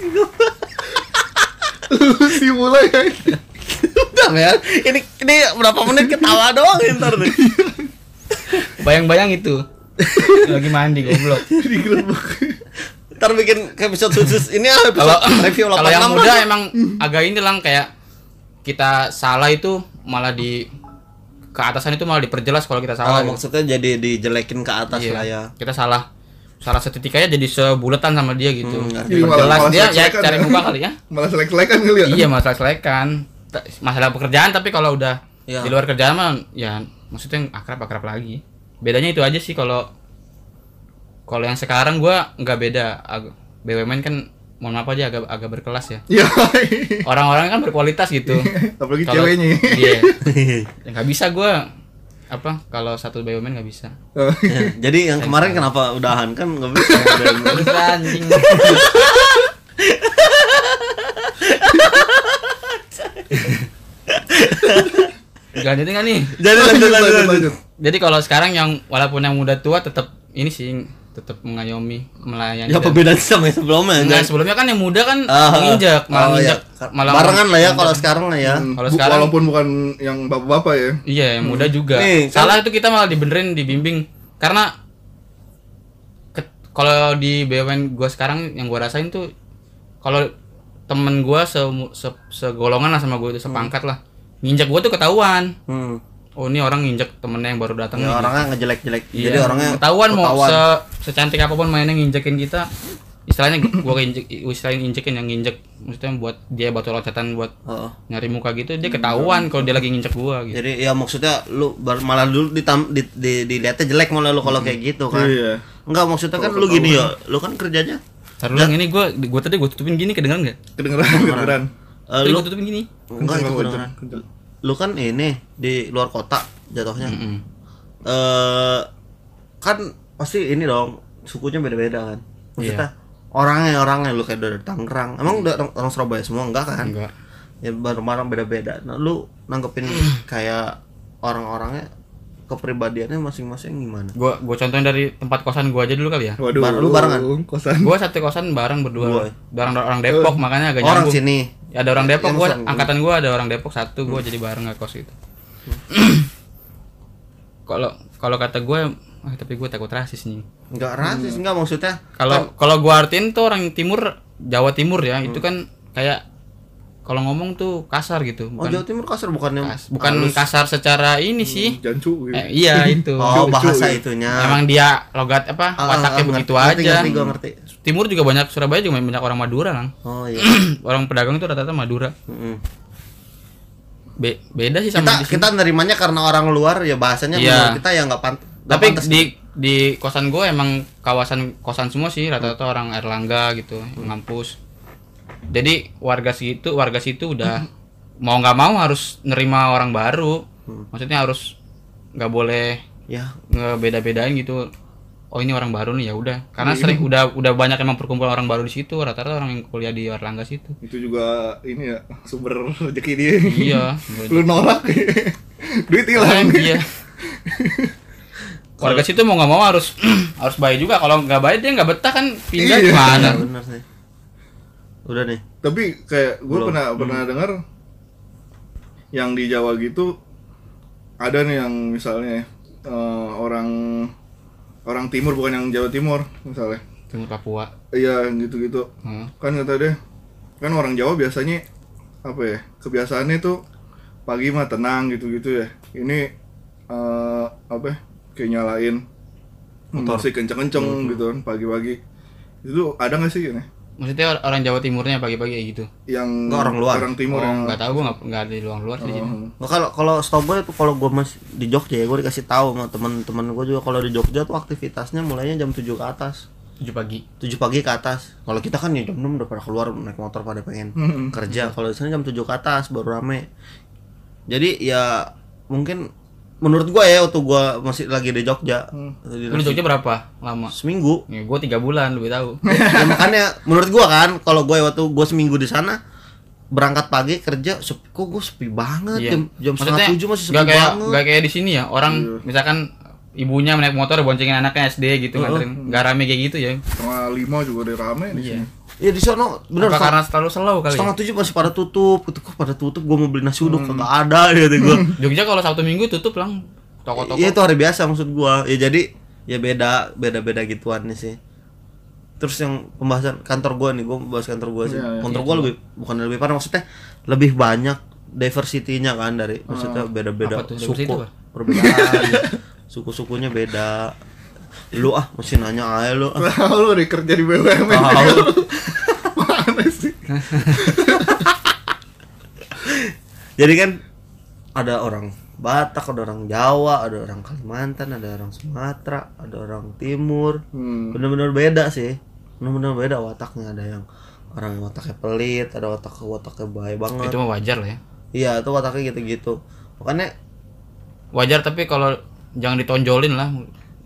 lu sih mulai anjing.
Udah ya. Ini ini berapa menit ketawa doang ini ntar nih.
bayang-bayang itu lagi mandi goblok
Ntar bikin episode khusus ini ah episode
kalau
review 86
kalau yang
lah.
muda emang
Hmm.
agak ini lang kayak kita salah itu malah di ke atasan itu malah diperjelas kalau kita
Oh,
salah gitu.
maksudnya jadi dijelekin ke atas
Iya,
lah ya.
kita salah salah setitik aja jadi sebuletan sama dia gitu
Hmm, ngerti.
Jadi malah-
jelas
malah
dia ya
selek-selekan
cari
ya.
muka kali ya
malah selek selekan kali ya
iya masalah selekan Ta- masalah pekerjaan tapi kalau udah
Iya.
di luar kerjaan mah ya maksudnya akrab akrab lagi bedanya itu aja sih kalau kalau yang sekarang gua nggak beda Ag- BUMN kan mohon maaf aja agak agak berkelas ya
iya
orang-orangnya kan berkualitas gitu
apalagi
Kalau-
ceweknya
iya Ya, nggak bisa gua apa kalau satu BUMN nggak bisa
Oh.
Ya, Jadi yang kemarin kenapa udahan kan nggak bisa.
Nggak bisa anjing Ganti nggak nih?
Jadi lanjut lanjut lanjut.
Jadi kalau sekarang yang walaupun yang muda tua tetap ini sih tetap mengayomi melayani.
Ya
dan-
perbedaan sama yang sebelumnya.
Nggak,
Jangan-
sebelumnya kan yang muda kan
Ah,
menginjak, malah
oh, iya.
nginjak, malah
barengan lah ya kalau sekarang lah ya.
Hmm,
Kalau
bu-
sekarang-
walaupun bukan yang bapak-bapak ya
Iya, yang muda juga.
Nih, kan-
Salah itu kita malah dibenerin, dibimbing. Karena ke- kalau di BUMN gua sekarang yang gua rasain tuh kalau temen gua se, se segolongan lah sama gua itu sepangkat lah. Nginjak gua tuh ketahuan.
Hmm.
Oh, ini orang nginjak temennya yang baru datang.
Ya,
nih.
orangnya ngejelek-jelek.
Iya.
Jadi orangnya
ketahuan mau
ketahuan.
se secantik apapun mainnya nginjekin kita. Istilahnya gua injek istilahnya injekin yang nginjek maksudnya buat dia batu loncatan buat
Heeh.
nyari muka gitu dia
Hmm.
ketahuan kalau dia lagi nginjek gua gitu.
Jadi ya maksudnya lu bar- malah dulu ditam, di, di, dilihatnya jelek malah lu
Hmm.
kalau kayak gitu kan.
Iya.
Enggak maksudnya kan lu gini ya, lu kan kerjanya
Taruh lang ini gua gua tadi gua tutupin gini kedengeran enggak?
kedengeran kedengeran
eh,
Tadi
lu
gua tutupin gini.
enggak itu
Kenceng,
beneran.
kenceng.
Lu kan ini di luar kota jatuhnya. Eh
Mm.
kan pasti ini dong sukunya beda-beda kan. Maksudnya orangnya orangnya lu kayak dari Tangerang. Emang udah orang, orang Surabaya semua enggak kan?
Iya. Enggak.
ya barang-barang beda-beda. Nah, lu nanggepin kayak orang-orangnya kepribadiannya masing-masing gimana?
Gua gua contohin dari tempat kosan gua aja dulu kali ya.
waduh
Bar- lu barengan?
kosan
Gua satu kosan bareng
Gua.
berdua. Bareng orang Depok makanya agak
Orang
nyambung.
sini.
Ya, ada orang Depok
Yang
gua
sama gua.
angkatan gua ada orang Depok satu gua jadi bareng ngekos gitu.
Hmm.
Kalau kalau kata gua ah, tapi gua takut rasis nih.
Enggak rasis, enggak maksudnya.
Kalau kalau gua artiin tuh orang timur Jawa Timur ya,
Hmm.
itu kan kayak kalau ngomong tuh kasar gitu,
Oh, Jawa
bukan
Timur Hmm, kasar bukannya
kas- bukan kasar secara ini sih.
jancu gitu.
Eh, iya itu.
Oh,
Lucu,
bahasa
lucu.
itunya.
Emang dia logat apa
Ah, ah,
wataknya
ah,
begitu
ngerti,
aja.
Ngerti, gua ngerti.
Timur juga banyak Surabaya juga banyak orang Madura lang.
Oh iya.
orang pedagang itu rata-rata Madura.
Mm-mm.
Be- beda sih
Kita
sama di sini.
kita nerimanya karena orang luar ya bahasanya
Iya.
menurut kita ya enggak pant nggak
Tapi
pantas.
di di kosan gue emang kawasan kosan semua sih rata-rata orang Erlangga gitu, yang ngampus. Jadi warga situ warga situ udah mau nggak mau harus nerima orang baru.
Hmm.
Maksudnya harus nggak boleh
ya
ngebeda-bedain gitu oh ini orang baru nih ya udah karena
Iya.
sering udah udah banyak emang perkumpulan orang baru di situ rata-rata orang yang kuliah di Erlangga situ
itu juga ini ya sumber rezeki dia
iya
lu norak duit hilang
Keren, iya warga situ mau nggak mau harus harus baik juga kalau nggak baik dia nggak betah kan pindah
Iya.
gimana
ya, benar sih. Udah nih.
tapi kayak gue
Belum.
pernah pernah dengar yang di Jawa gitu ada nih yang misalnya eh, orang orang timur bukan yang Jawa Timur misalnya
timur Papua
iya gitu-gitu
Hmm.
kan kata dia kan orang Jawa biasanya apa ya kebiasaannya tuh pagi mah tenang gitu-gitu ya ini eh, apa ya, kayak nyalain
Motor. Hmm.
musik kenceng-kenceng gitu kan pagi-pagi itu ada nggak sih ini
maksudnya or- orang Jawa Timurnya pagi-pagi kayak gitu
yang
Nggak, orang luar.
timur
oh,
yang
nggak tahu gue nggak nggak ada di luar luar sih di sini.
Oh,
Nah, kalau kalau setahu gue itu kalau gue masih di Jogja ya gue dikasih tahu sama teman-teman gue juga kalau di Jogja tuh aktivitasnya mulainya jam 7 ke atas.
tujuh pagi
7 pagi ke atas. Kalau kita kan ya jam 6 udah pada keluar naik motor pada pengen
Mm-mm.
kerja. Kalau di sana jam 7 ke atas baru rame. Jadi ya mungkin menurut gue ya waktu gue masih lagi di Jogja. di
Hmm. lu di Jogja berapa lama
Seminggu.
ya, gue tiga bulan lebih tahu
ya makanya menurut gua kan kalau gue waktu gua seminggu di sana berangkat pagi kerja sepi, kok gue sepi banget jam jam setengah tujuh masih sepi
Iya. nggak kayak
banget Iya.
nggak kayak di sini ya orang misalkan ibunya naik motor boncengin anaknya SD gitu nganterin nggak rame kayak gitu ya
setengah lima juga udah rame
Iya.
di sini
ya di sana bener setengah-
Apa karena terlalu slow kali ya?
setengah tujuh masih pada tutup gitu kok pada tutup gua mau beli nasi uduk
Hmm.
kagak ada gitu gua
Jogja kalau Sabtu Minggu tutup lang toko-toko
Iya itu hari biasa maksud gua. Ya jadi ya beda beda beda gituan nih sih. Terus yang pembahasan kantor gua nih, gua bahas kantor gua sih.
Iya, iya.
kantor gua lebih bukan lebih parah maksudnya lebih banyak diversity-nya kan dari maksudnya
Hmm.
beda-beda
Apa tuh?
suku.
Diversity apa?
Perbedaan. Suku-sukunya beda. Lu ah mesti nanya aja lu. ah.
Tahu lu udah kerja di BUMN.
Tahu.
Mana sih?
Jadi kan ada orang Batak, ada orang Jawa, ada orang Kalimantan, ada orang Sumatera, ada orang Timur.
Hmm.
Bener-bener beda sih. Bener-bener beda wataknya ada yang orang yang wataknya pelit, ada watak wataknya baik banget.
itu mah wajar lah ya
Iya, itu wataknya gitu-gitu. Makanya
wajar tapi kalau jangan ditonjolin lah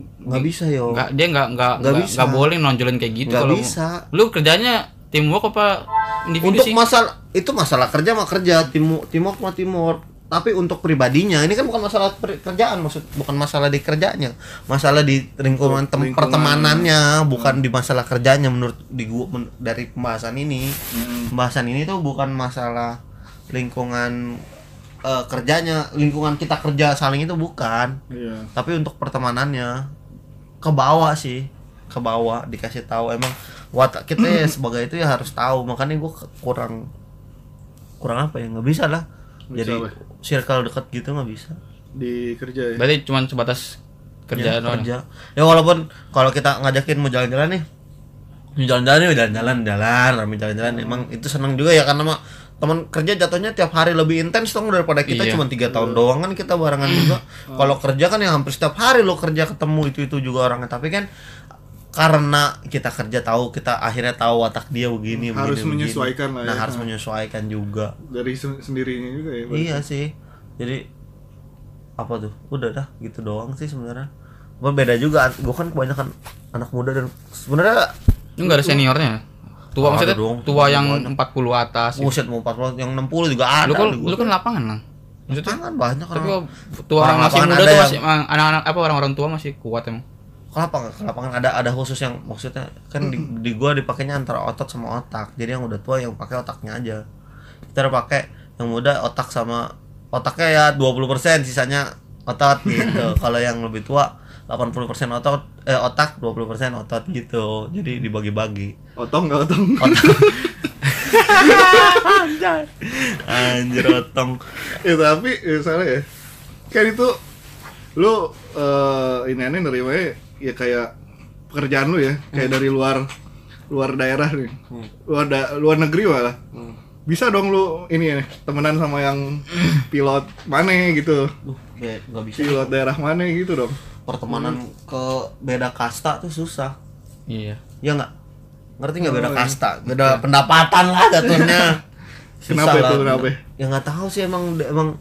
nggak bisa yo.
nggak dia nggak nggak
Nggak
nggak
bisa.
nggak boleh nonjolin kayak gitu
Nggak
kalau
bisa.
lu kerjanya teamwork apa individu
Untuk
sih
masalah itu masalah kerja mah kerja, timur timur mah timur. Tapi untuk pribadinya ini kan bukan masalah per- kerjaan maksud bukan masalah di kerjanya, masalah di lingkungan tem-
Lingkungan.
pertemanannya, bukan di masalah kerjanya menurut di gua men- dari pembahasan ini.
Hmm.
Pembahasan ini tuh bukan masalah lingkungan eh, kerjanya, lingkungan kita kerja saling itu bukan
Iya.
tapi untuk pertemanannya ke bawah sih ke bawah dikasih tahu emang watak kita ya sebagai itu ya harus tahu makanya gue kurang kurang apa ya nggak bisa lah
Bisa
jadi
lah.
circle dekat gitu nggak bisa
Di kerja ya.
berarti cuma sebatas
ya,
kerjaan doang
kerja ya walaupun kalau kita ngajakin mau jalan-jalan nih mau jalan-jalan nih jalan-jalan jalan rame jalan-jalan
Hmm.
emang itu senang juga ya karena mah teman kerja jatuhnya tiap hari lebih intens dong daripada kita
Iya.
cuma tiga tahun doang kan kita barengan juga
Hmm.
kalau kerja kan ya hampir setiap hari lo kerja ketemu itu itu juga orangnya tapi kan karena kita kerja tahu kita akhirnya tahu watak dia begini begini,
Harus
begini.
menyesuaikan lah ya.
nah harus menyesuaikan juga
Dari se- sendirinya juga ya.
Iya sih. Jadi apa tuh? Udah dah gitu doang sih sebenarnya. Gua beda juga. Gue kan kebanyakan anak muda dan sebenarnya
lu nggak ada seniornya
Ada
tua maksudnya
dong.
tua yang
Banyak. Oh,
40 atas gitu.
uset mau 40 yang 60 juga ada.
lu kan
di gua.
lu kan lapangan lang maksudnya
Tangan banyak orang.
tapi kalau tua orang masih
lapangan
muda
ada
tuh
yang-
masih emang anak-anak apa orang-orang tua masih kuat emang
ke lapangan ke lapangan ada ada khusus yang maksudnya kan di, di gua dipakainya antara otot sama otak jadi yang udah tua yang pakai otaknya aja kita udah pakai yang muda otak sama otaknya ya 20% sisanya otot gitu kalau yang lebih tua 80% otot eh otak 20% otot gitu jadi dibagi-bagi
Otong nggak otong.
anjir otong
ya tapi ya, salah ya. Kan itu lu eh ini aneh nerimanya ya kayak pekerjaan lu ya, kayak
Hmm.
dari luar luar daerah nih. Luar da- luar negeri malah.
Hmm.
Bisa dong lu ini ya, temenan sama yang
Hmm.
pilot mana gitu.
Duh, be- nggak bisa
Pilot daerah mana gitu dong.
pertemanan ke beda kasta tuh susah
iya
ya nggak ngerti nggak
Oh,
beda
iya.
kasta beda pendapatan lah jatuhnya
Kenapa itu, kenapa?
ya nggak tahu sih emang emang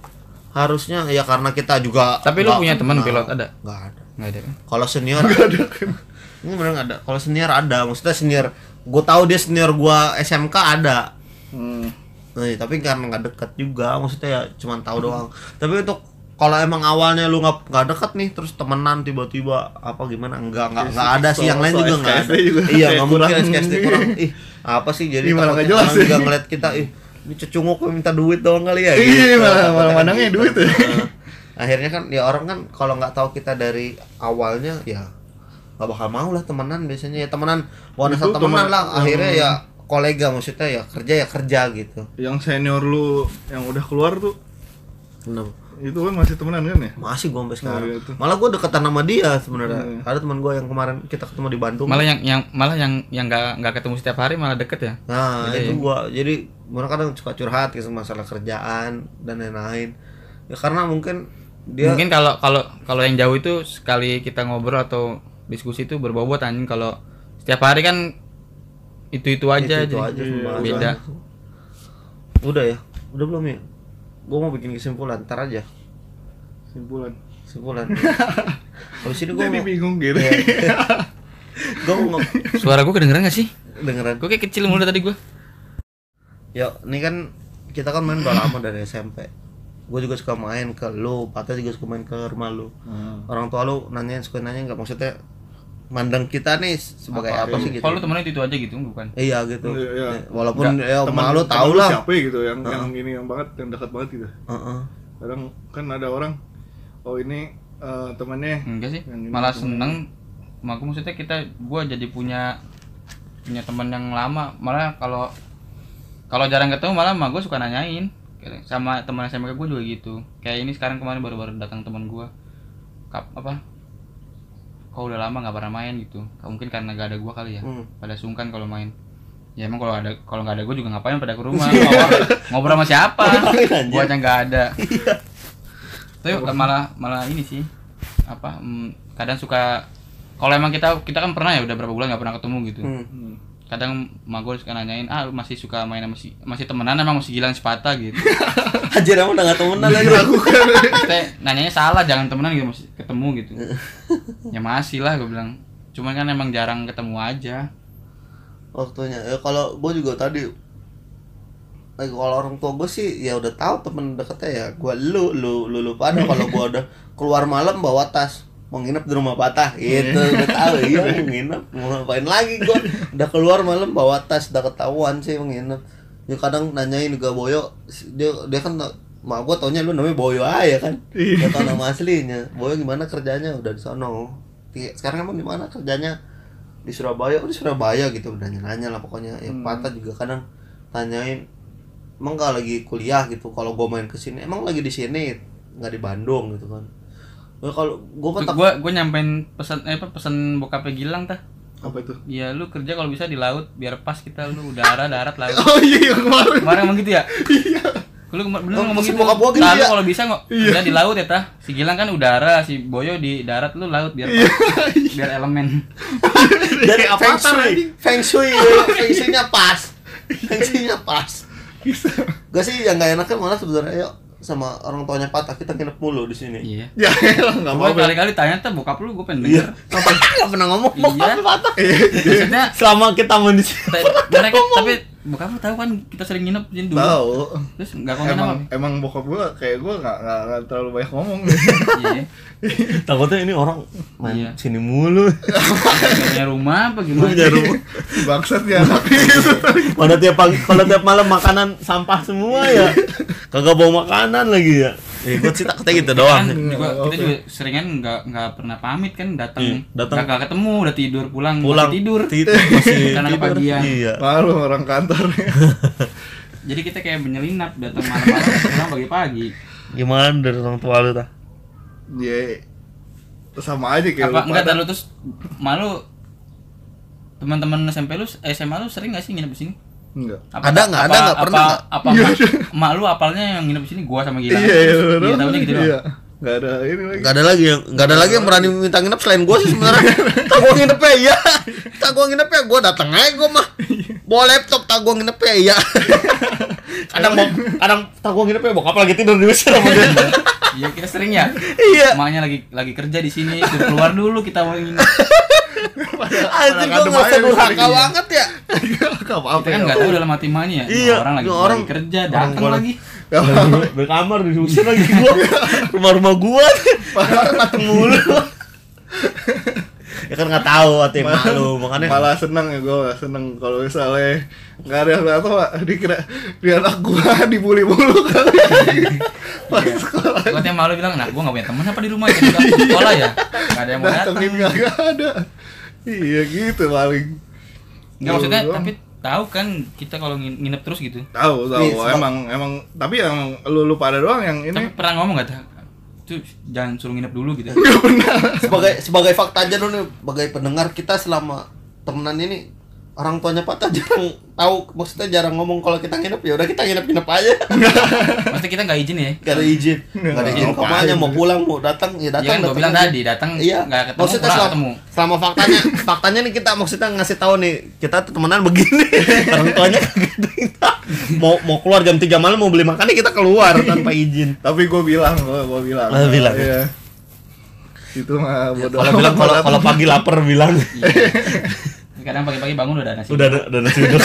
harusnya ya karena kita juga
Tapi lu
nggak-
punya teman
nggak-
pilot ada?
nggak ada
nggak ada kan
kalau senior ada ini bener nggak ada kalau senior ada maksudnya senior gue tahu dia senior gua SMK ada
Hmm.
Nih, Eh, iya, tapi karena nggak deket juga maksudnya ya cuman tahu doang tapi untuk kalau emang awalnya lu nggak nggak deket nih terus temenan tiba-tiba apa gimana enggak nggak nggak ada sih yang lain
So-
juga
so
nggak ada
SKSD Iya, juga
iya
kayak
nggak mungkin
kurang.
SKSD kurang ih apa sih jadi
Ih, malah
takutnya
nggak jelas
orang
ya.
juga ngeliat kita ih ini cecunguk minta duit doang kali ya
Iya, malah-
Takutnya
malah
kan
mandangnya
gitu.
duit ya.
Heeh. akhirnya kan ya orang kan kalau nggak tahu kita dari awalnya ya nggak bakal mau lah temenan biasanya ya temenan bukan
Itu
asal temenan
temen-
lah akhirnya
yang-
ya kolega maksudnya ya kerja ya kerja gitu
Yang senior lu yang udah keluar tuh
Kenapa?
itu kan masih temenan kan ya
masih gue sampai sekarang
iya tuh.
malah gue deketan sama dia sebenarnya
Iya.
ada teman gue yang kemarin kita ketemu di Bandung
malah yang yang malah yang yang nggak nggak ketemu setiap hari malah deket ya
nah itu
Gitu ya.
gue jadi mereka kadang suka curhat gitu masalah kerjaan dan lain-lain ya karena mungkin dia
mungkin kalau kalau kalau yang jauh itu sekali kita ngobrol atau diskusi itu berbobot anjing kalau setiap hari kan itu itu aja
itu,
jadi
aja
Iya,
semua
beda
udah ya udah belum ya gue mau bikin kesimpulan ntar aja
simpulan
kesimpulan habis ini gue
jadi
mau
bingung gitu
Iya. gue mau ngom-
suara gue kedengeran gak sih
dengeran
gue kayak kecil mulu tadi gue
Ya, ini kan kita kan main udah lama dari SMP. Gue juga suka main ke lu, Pata juga suka main ke rumah lu. Orang tua lu nanyain suka nanya nggak maksudnya mandang kita nih sebagai apa, sih gitu.
kalau lu temennya itu, itu aja gitu bukan
Iya gitu.
Iya, iya.
Walaupun ya
Teman-
emak lu
teman
tau lah. Hmm.
siapa ya gitu yang yang ini yang banget yang dekat banget gitu
Heeh.
kadang kan ada orang oh ini eh, temannya
enggak sih
Yang ini
malah
temen.
seneng aku maksudnya kita gue jadi punya punya teman yang lama malah kalau kalau jarang ketemu malah mah gue suka nanyain Kayak sama teman SMK gue juga gitu kayak ini sekarang kemarin baru-baru datang teman gue kap apa kau udah lama nggak pernah main gitu Ka- mungkin karena gak ada gue kali ya
Hmm.
pada sungkan kalau main ya emang kalau ada kalau nggak ada gue juga ngapain pada ke rumah Ngobrol- ngobrol sama siapa gue aja nggak ada tapi eh, malah malah ini sih apa mm, kadang suka kalau emang kita kita kan pernah ya udah berapa bulan nggak pernah ketemu gitu
Hmm.
Hmm.
kadang mak gue suka nanyain ah lu masih suka main sama si masih temenan emang masih gilaan sepatah gitu
Hajar emang udah gak temenan lagi aku.
Maksudnya nanyanya salah jangan temenan gitu masih ketemu gitu ya masih lah gue bilang cuman kan emang jarang ketemu aja
Waktunya. Ya, kalau gue juga tadi eh, kalau orang tua gue sih ya udah tahu temen deketnya ya gue lu lu lu lu pada kalau gue udah keluar malam bawa tas mau nginep di rumah patah gitu udah tahu iya mau nginep mau ngapain lagi gue udah keluar malam bawa tas udah ketahuan sih mau nginep ya kadang nanyain juga Boyo dia dia kan mak gue taunya lu namanya Boyo aja kan gak tau nama aslinya Boyo gimana kerjanya udah di sono Di- sekarang emang di mana kerjanya di Surabaya oh, di Surabaya gitu udah nanya lah pokoknya ya
Hmm.
patah juga kadang tanyain emang gak lagi kuliah gitu kalau gue main kesini emang lagi di sini nggak di Bandung gitu kan Nah, kalau gue kan tak-
gue gue nyampein pesan eh, apa pesan bokapnya Gilang tah
apa itu
ya lu kerja kalau bisa di laut biar pas kita lu udara darat laut
oh iya yang kemarin
kemarin emang gitu ya lu kemar- bener
Oh,
ngomong
Iya. si
gitu
bokap gua gitu
Nah, lu
ya?
kalau bisa nggak kerja di laut ya tah si Gilang kan udara si Boyo di darat lu laut biar
Iya.
biar elemen
dan
Kayak
feng
avatar
shui
anjing.
feng shui ya, feng shui-nya pas feng shui-nya pas gak sih yang gak enak kan malah sebenarnya yuk sama orang tuanya patah kita nginep mulu di sini
iya
ya elah, nggak
Gua
apa-apa
kali-kali tanya tuh bokap lu gue pengen
iya
denger
nggak pernah ngomong
Iya.
bokapnya patah
maksudnya
selama kita mau di sini
te- mereka tapi bokap lu tahu kan kita sering nginep di sini dulu
tahu
terus nggak konten apa
emang emang bokap gue kayak gue nggak nggak nggak terlalu banyak ngomong
iya
takutnya ini orang main
Iya.
sini mulu
Nggak punya rumah apa gimana
punya rumah
bangsat ya anak
pada tiap pagi kalau tiap malam makanan sampah semua ya kagak bawa makanan lagi ya ikut sih takutnya gitu
kan
doang
juga kita
Oke.
juga seringan nggak nggak pernah pamit kan datang
Iya,
nih
datang.
nggak nggak ketemu udah tidur pulang
pulang
masih tidur
ti- masih
Karena
tidur
kepagian.
iya
malu orang kantor
jadi kita kayak menyelinap datang malam-malam pulang pagi-pagi
gimana dari orang tua lu tah
ya sama aja kayak
apa
lu
enggak
pada.
terlalu terus malu teman-teman SMP lu eh, SMA lu sering nggak sih nginep di sini
enggak
Apa-
Ada nggak? Ada
apa-
nggak? Pernah
apa-
nggak?
apa emak- emak lu apalnya yang nginep di sini gua sama Gilang
iya iya
Terus
bener.
dia tahunya gitu doang.
Iya. nggak ada ini lagi
Gak ada lagi yang gak ada lagi yang berani minta nginep selain gue sih sebenarnya. tak gua nginep ya, iya. Tak gua nginep ya, gue datang aja gue mah. Bawa laptop tak gua nginep ya, iya. kadang mau kadang tak gua nginep ya, bokap lagi tidur di WC sama dia.
iya kita sering ya
Iya.
emaknya lagi lagi kerja di sini suruh keluar dulu kita mau nginep
Anjir
kadang
gue
adem
ngerasa
aja
durhaka
sering.
banget ya.
nggak apa-apa
kita kan
ya.
nggak tahu dalam hati emaknya ya.
Iya,
orang lagi,
ini orang-
lagi kerja
orang
datang
gua-
lagi
Nggak apa-apa.
Berkamar di WC lagi gue. Rumah-rumah gue datang mulu. ya kan nggak tahu hati emak lu, makanya
malah seneng ya gue seneng kalau misalnya nggak ada apa apa dikira dia anak gue dibully mulu kali
Iya.
pas sekolah
Katanya malu bilang, nah gua gak punya temen apa di rumah Jadi gak ke sekolah ya Gak ada yang mau datang
datengin nggak ada iya gitu paling
Iya,
Gak maksudnya,
Gua-
tapi tahu kan kita kalau ngin- nginep terus gitu.
tahu tahu
Nih, sebab-
emang emang tapi yang lu lu pada doang yang ini
Tapi pernah ngomong gak? Itu jangan suruh nginep dulu gitu.
sebagai sebagai fakta aja dulu nih sebagai pendengar kita selama temenan ini orang tuanya Pata jarang tahu maksudnya jarang ngomong kalau kita nginep ya udah kita nginep nginep aja
Maksudnya kita nggak izin ya.
gak ada izin gak ada izin
Ngapain?
kemana mau pulang mau datang ya
Iya
datang
kan gua
datang
bilang
aja.
tadi datang
iya
nggak ketemu
maksudnya
pulang
selama,
ketemu.
selama faktanya faktanya nih kita maksudnya ngasih tahu nih kita tuh temenan begini orang tuanya kagak ada yang tahu. mau mau keluar jam 3 malam mau beli makan nih kita keluar tanpa izin
tapi gue bilang gue gue bilang
Ah, bilang.
Iya. itu mah bodoh
kalau bilang kalau kalau pagi lapar bilang
Iya. Kadang pagi-pagi bangun udah ada nasi.
udah ada udah nasi uduk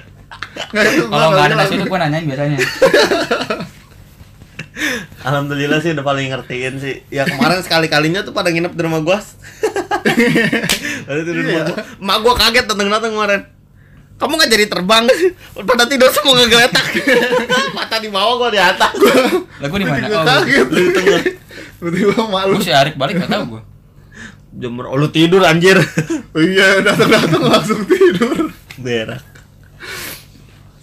Nggak, itu gua
Kalau nggak ada
bilang.
nasi itu gua nanyain biasanya.
Alhamdulillah sih udah paling ngertiin sih. Ya kemarin sekali-kalinya tuh pada nginep di rumah gua. Pada tidur di rumah gua. Mak gua kaget datang-datang kemarin. Kamu nggak jadi terbang? Pada tidur semua ngegeletak. Mata di bawah gua di atas.
Lah gua di
Gua
mana? Oh, gua-
kaget
Lu tengah.
tiba-tiba malu
gua si Arif balik nggak tahu gua.
Jam ber- oh, lu tidur anjir. Oh,
iya datang datang langsung tidur
Berak.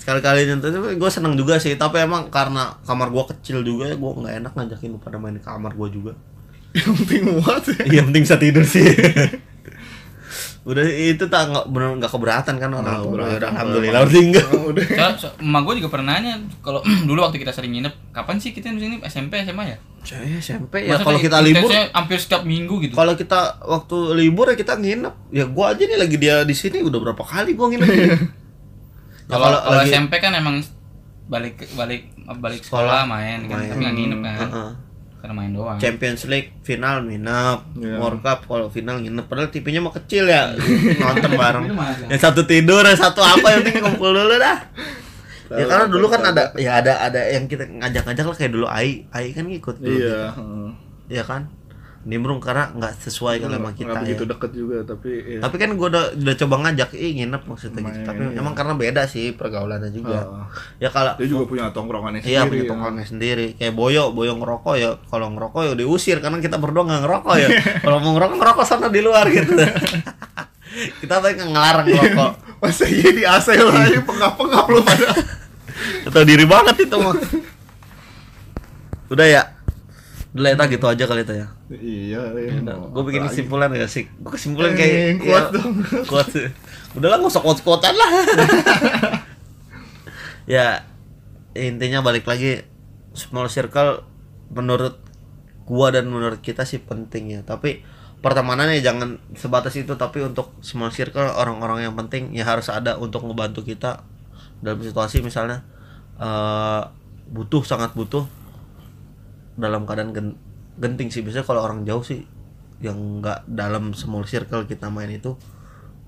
Sekali-kalinya tuh tapi gua seneng juga sih, tapi emang karena kamar gua kecil juga ya gua nggak enak ngajakin lu pada main di kamar gua juga.
yang penting muat ya
Iya, yang penting bisa tidur sih. udah itu tak nggak bener nggak keberatan kan orang
Nggak
tua.
keberatan.
Yaudah, alhamdulillah udah tinggal.
Emang udah
Soalnya so, emak gue juga pernah nanya kalau dulu waktu kita sering nginep, kapan sih kita di sini SMP SMA ya?
Saya SMP ya
Masa
kalau
kayak
kita libur,
intensnya hampir setiap minggu gitu.
kalau kita waktu libur ya kita nginep. Ya gua aja nih lagi dia di sini udah berapa kali gua nginep. ya,
Kalau kalau
lagi
SMP kan emang balik balik balik sekolah, main kan, tapi nggak nginep kan.
Heeh.
Karena main doang.
Champions League final nginep,
Iya.
World Cup kalau final nginep. Padahal TV-nya mah kecil ya,
Iya.
nonton bareng.
Itu mah ada.
yang satu tidur, yang satu apa yang penting kumpul dulu dah. Ya karena dulu kan ada ya ada ada yang kita ngajak-ngajak lah kayak dulu Ai, Ai kan ngikut dulu.
iya
Iya kan? Nimrung karena nggak sesuai kalau sama kita.
Iya,
ya.
nggak begitu deket juga tapi ya.
Tapi kan gua udah, udah coba ngajak, ih nginep maksudnya gitu.
Main,
Tapi
iya.
emang karena beda sih pergaulannya juga.
Ah,
Ya kalau
dia juga punya tongkrongannya
Iya punya
sendiri ya.
tongkrongan sendiri. Kayak Boyo, Boyo ngerokok ya. Kalau ngerokok ya diusir karena kita berdua nggak ngerokok ya. Kalau mau ngerokok ngerokok sana di luar gitu. kita tuh yang ngelarang ngerokok.
masa iya di AC lah ini pengap-pengap lu pada
Atau diri banget itu mah. Udah ya. Udah lah, Eta, gitu aja kali itu ya.
iya
gue bikin kesimpulan gak sih? Gue kesimpulan
Eh,
kayak
yang kuat
ya,
dong.
Kuat. Udah lah nggak usah kuat-kuatan lah. ya intinya balik lagi small circle menurut gua dan menurut kita sih penting ya. Tapi pertemanannya jangan sebatas itu tapi untuk small circle orang-orang yang penting ya harus ada untuk ngebantu kita dalam situasi misalnya eh, butuh sangat butuh dalam keadaan gen- genting sih biasanya kalau orang jauh sih yang nggak dalam small circle kita main itu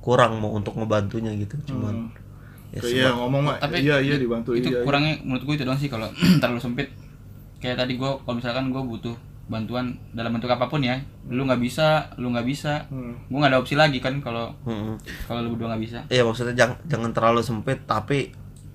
kurang mau untuk ngebantunya gitu cuman ya
iya
sebab-
ngomong mah
tapi
iya iya dibantu
itu
iya iya.
kurangnya menurut gue itu doang sih kalau terlalu sempit kayak tadi gue kalau misalkan gue butuh bantuan dalam bentuk apapun ya lu nggak bisa lu nggak bisa
Hmm.
gue nggak ada opsi lagi kan kalau
Mm-mm.
kalau lu berdua nggak bisa
iya maksudnya jangan jangan terlalu sempit tapi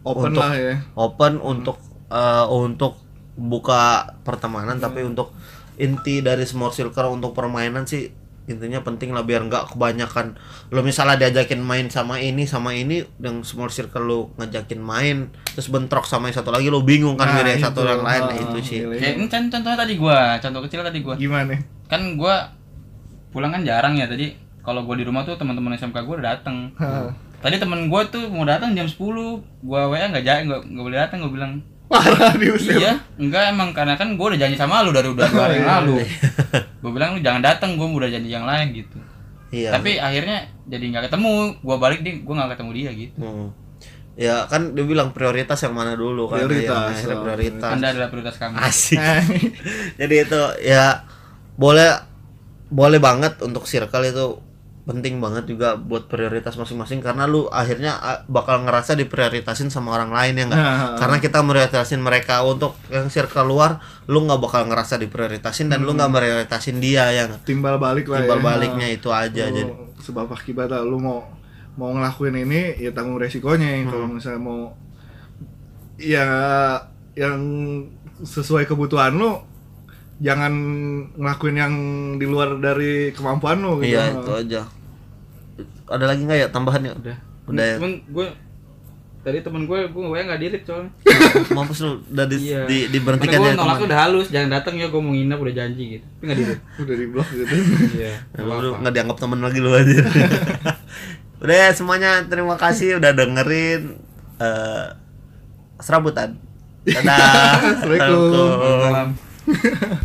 open
untuk
lah ya
open untuk eh, untuk buka
Hmm.
pertemanan tapi untuk inti dari small circle untuk permainan sih intinya penting lah biar nggak kebanyakan lo misalnya diajakin main sama ini sama ini yang small circle lo ngajakin main terus bentrok sama yang satu lagi lo bingung kan
Nah,
milih yang satu
itu.
yang lain nah,
Ah,
itu sih
milih.
kayak ini contoh- contohnya tadi gue contoh kecil tadi gue
gimana
kan gue pulang kan jarang ya tadi kalau gue di rumah tuh teman-teman SMK gue udah dateng
Hmm.
Hah.
tadi teman gue tuh mau datang jam 10 gue wa nggak jadi nggak nggak boleh datang gue bilang
parah diusir
Iya, enggak emang karena kan gue udah janji sama lu dari udah dua hari yang lalu. gue bilang lu jangan datang, gue udah janji yang lain gitu.
iya
Tapi akhirnya jadi nggak ketemu, gue balik deh, gue nggak ketemu dia gitu.
Hmm. ya kan dia bilang prioritas yang mana dulu kan
Prioritas,
Yang akhirnya
oh,
prioritas
Anda adalah prioritas kami.
asik
Nah,
jadi itu ya boleh boleh banget untuk circle itu penting banget juga buat prioritas masing-masing karena lu akhirnya ah, bakal ngerasa diprioritasin sama orang lain ya enggak
Nah.
karena kita prioritasin mereka untuk yang circle luar lu nggak bakal ngerasa diprioritasin dan lu nggak prioritasin dia ya nggak?
timbal balik lah
timbal
Hmm. ya. Oh,
baliknya itu aja
Lu
jadi
sebab akibat lah, lu mau mau ngelakuin ini ya tanggung resikonya kalau
Hmm.
misalnya mau ya yang sesuai kebutuhan lu jangan ngelakuin yang di luar dari kemampuan lu gitu.
iya itu aja ada lagi nggak ya tambahan ya udah udah ya?
Cuman gue tadi temen gue gue gue nggak dirip soalnya
mampus lu udah di,
Iya.
di, diberhentikan
Makanya
dari
gue nolak tuh
teman
udah halus jangan datang ya gue mau nginep udah janji gitu tapi nggak dirip
udah di blok gitu
iya
Emang lu nggak dianggap temen lagi lu aja udah ya, semuanya terima kasih udah dengerin eh serabutan dadah
Assalamualaikum.
Assalamualaikum.
Salam.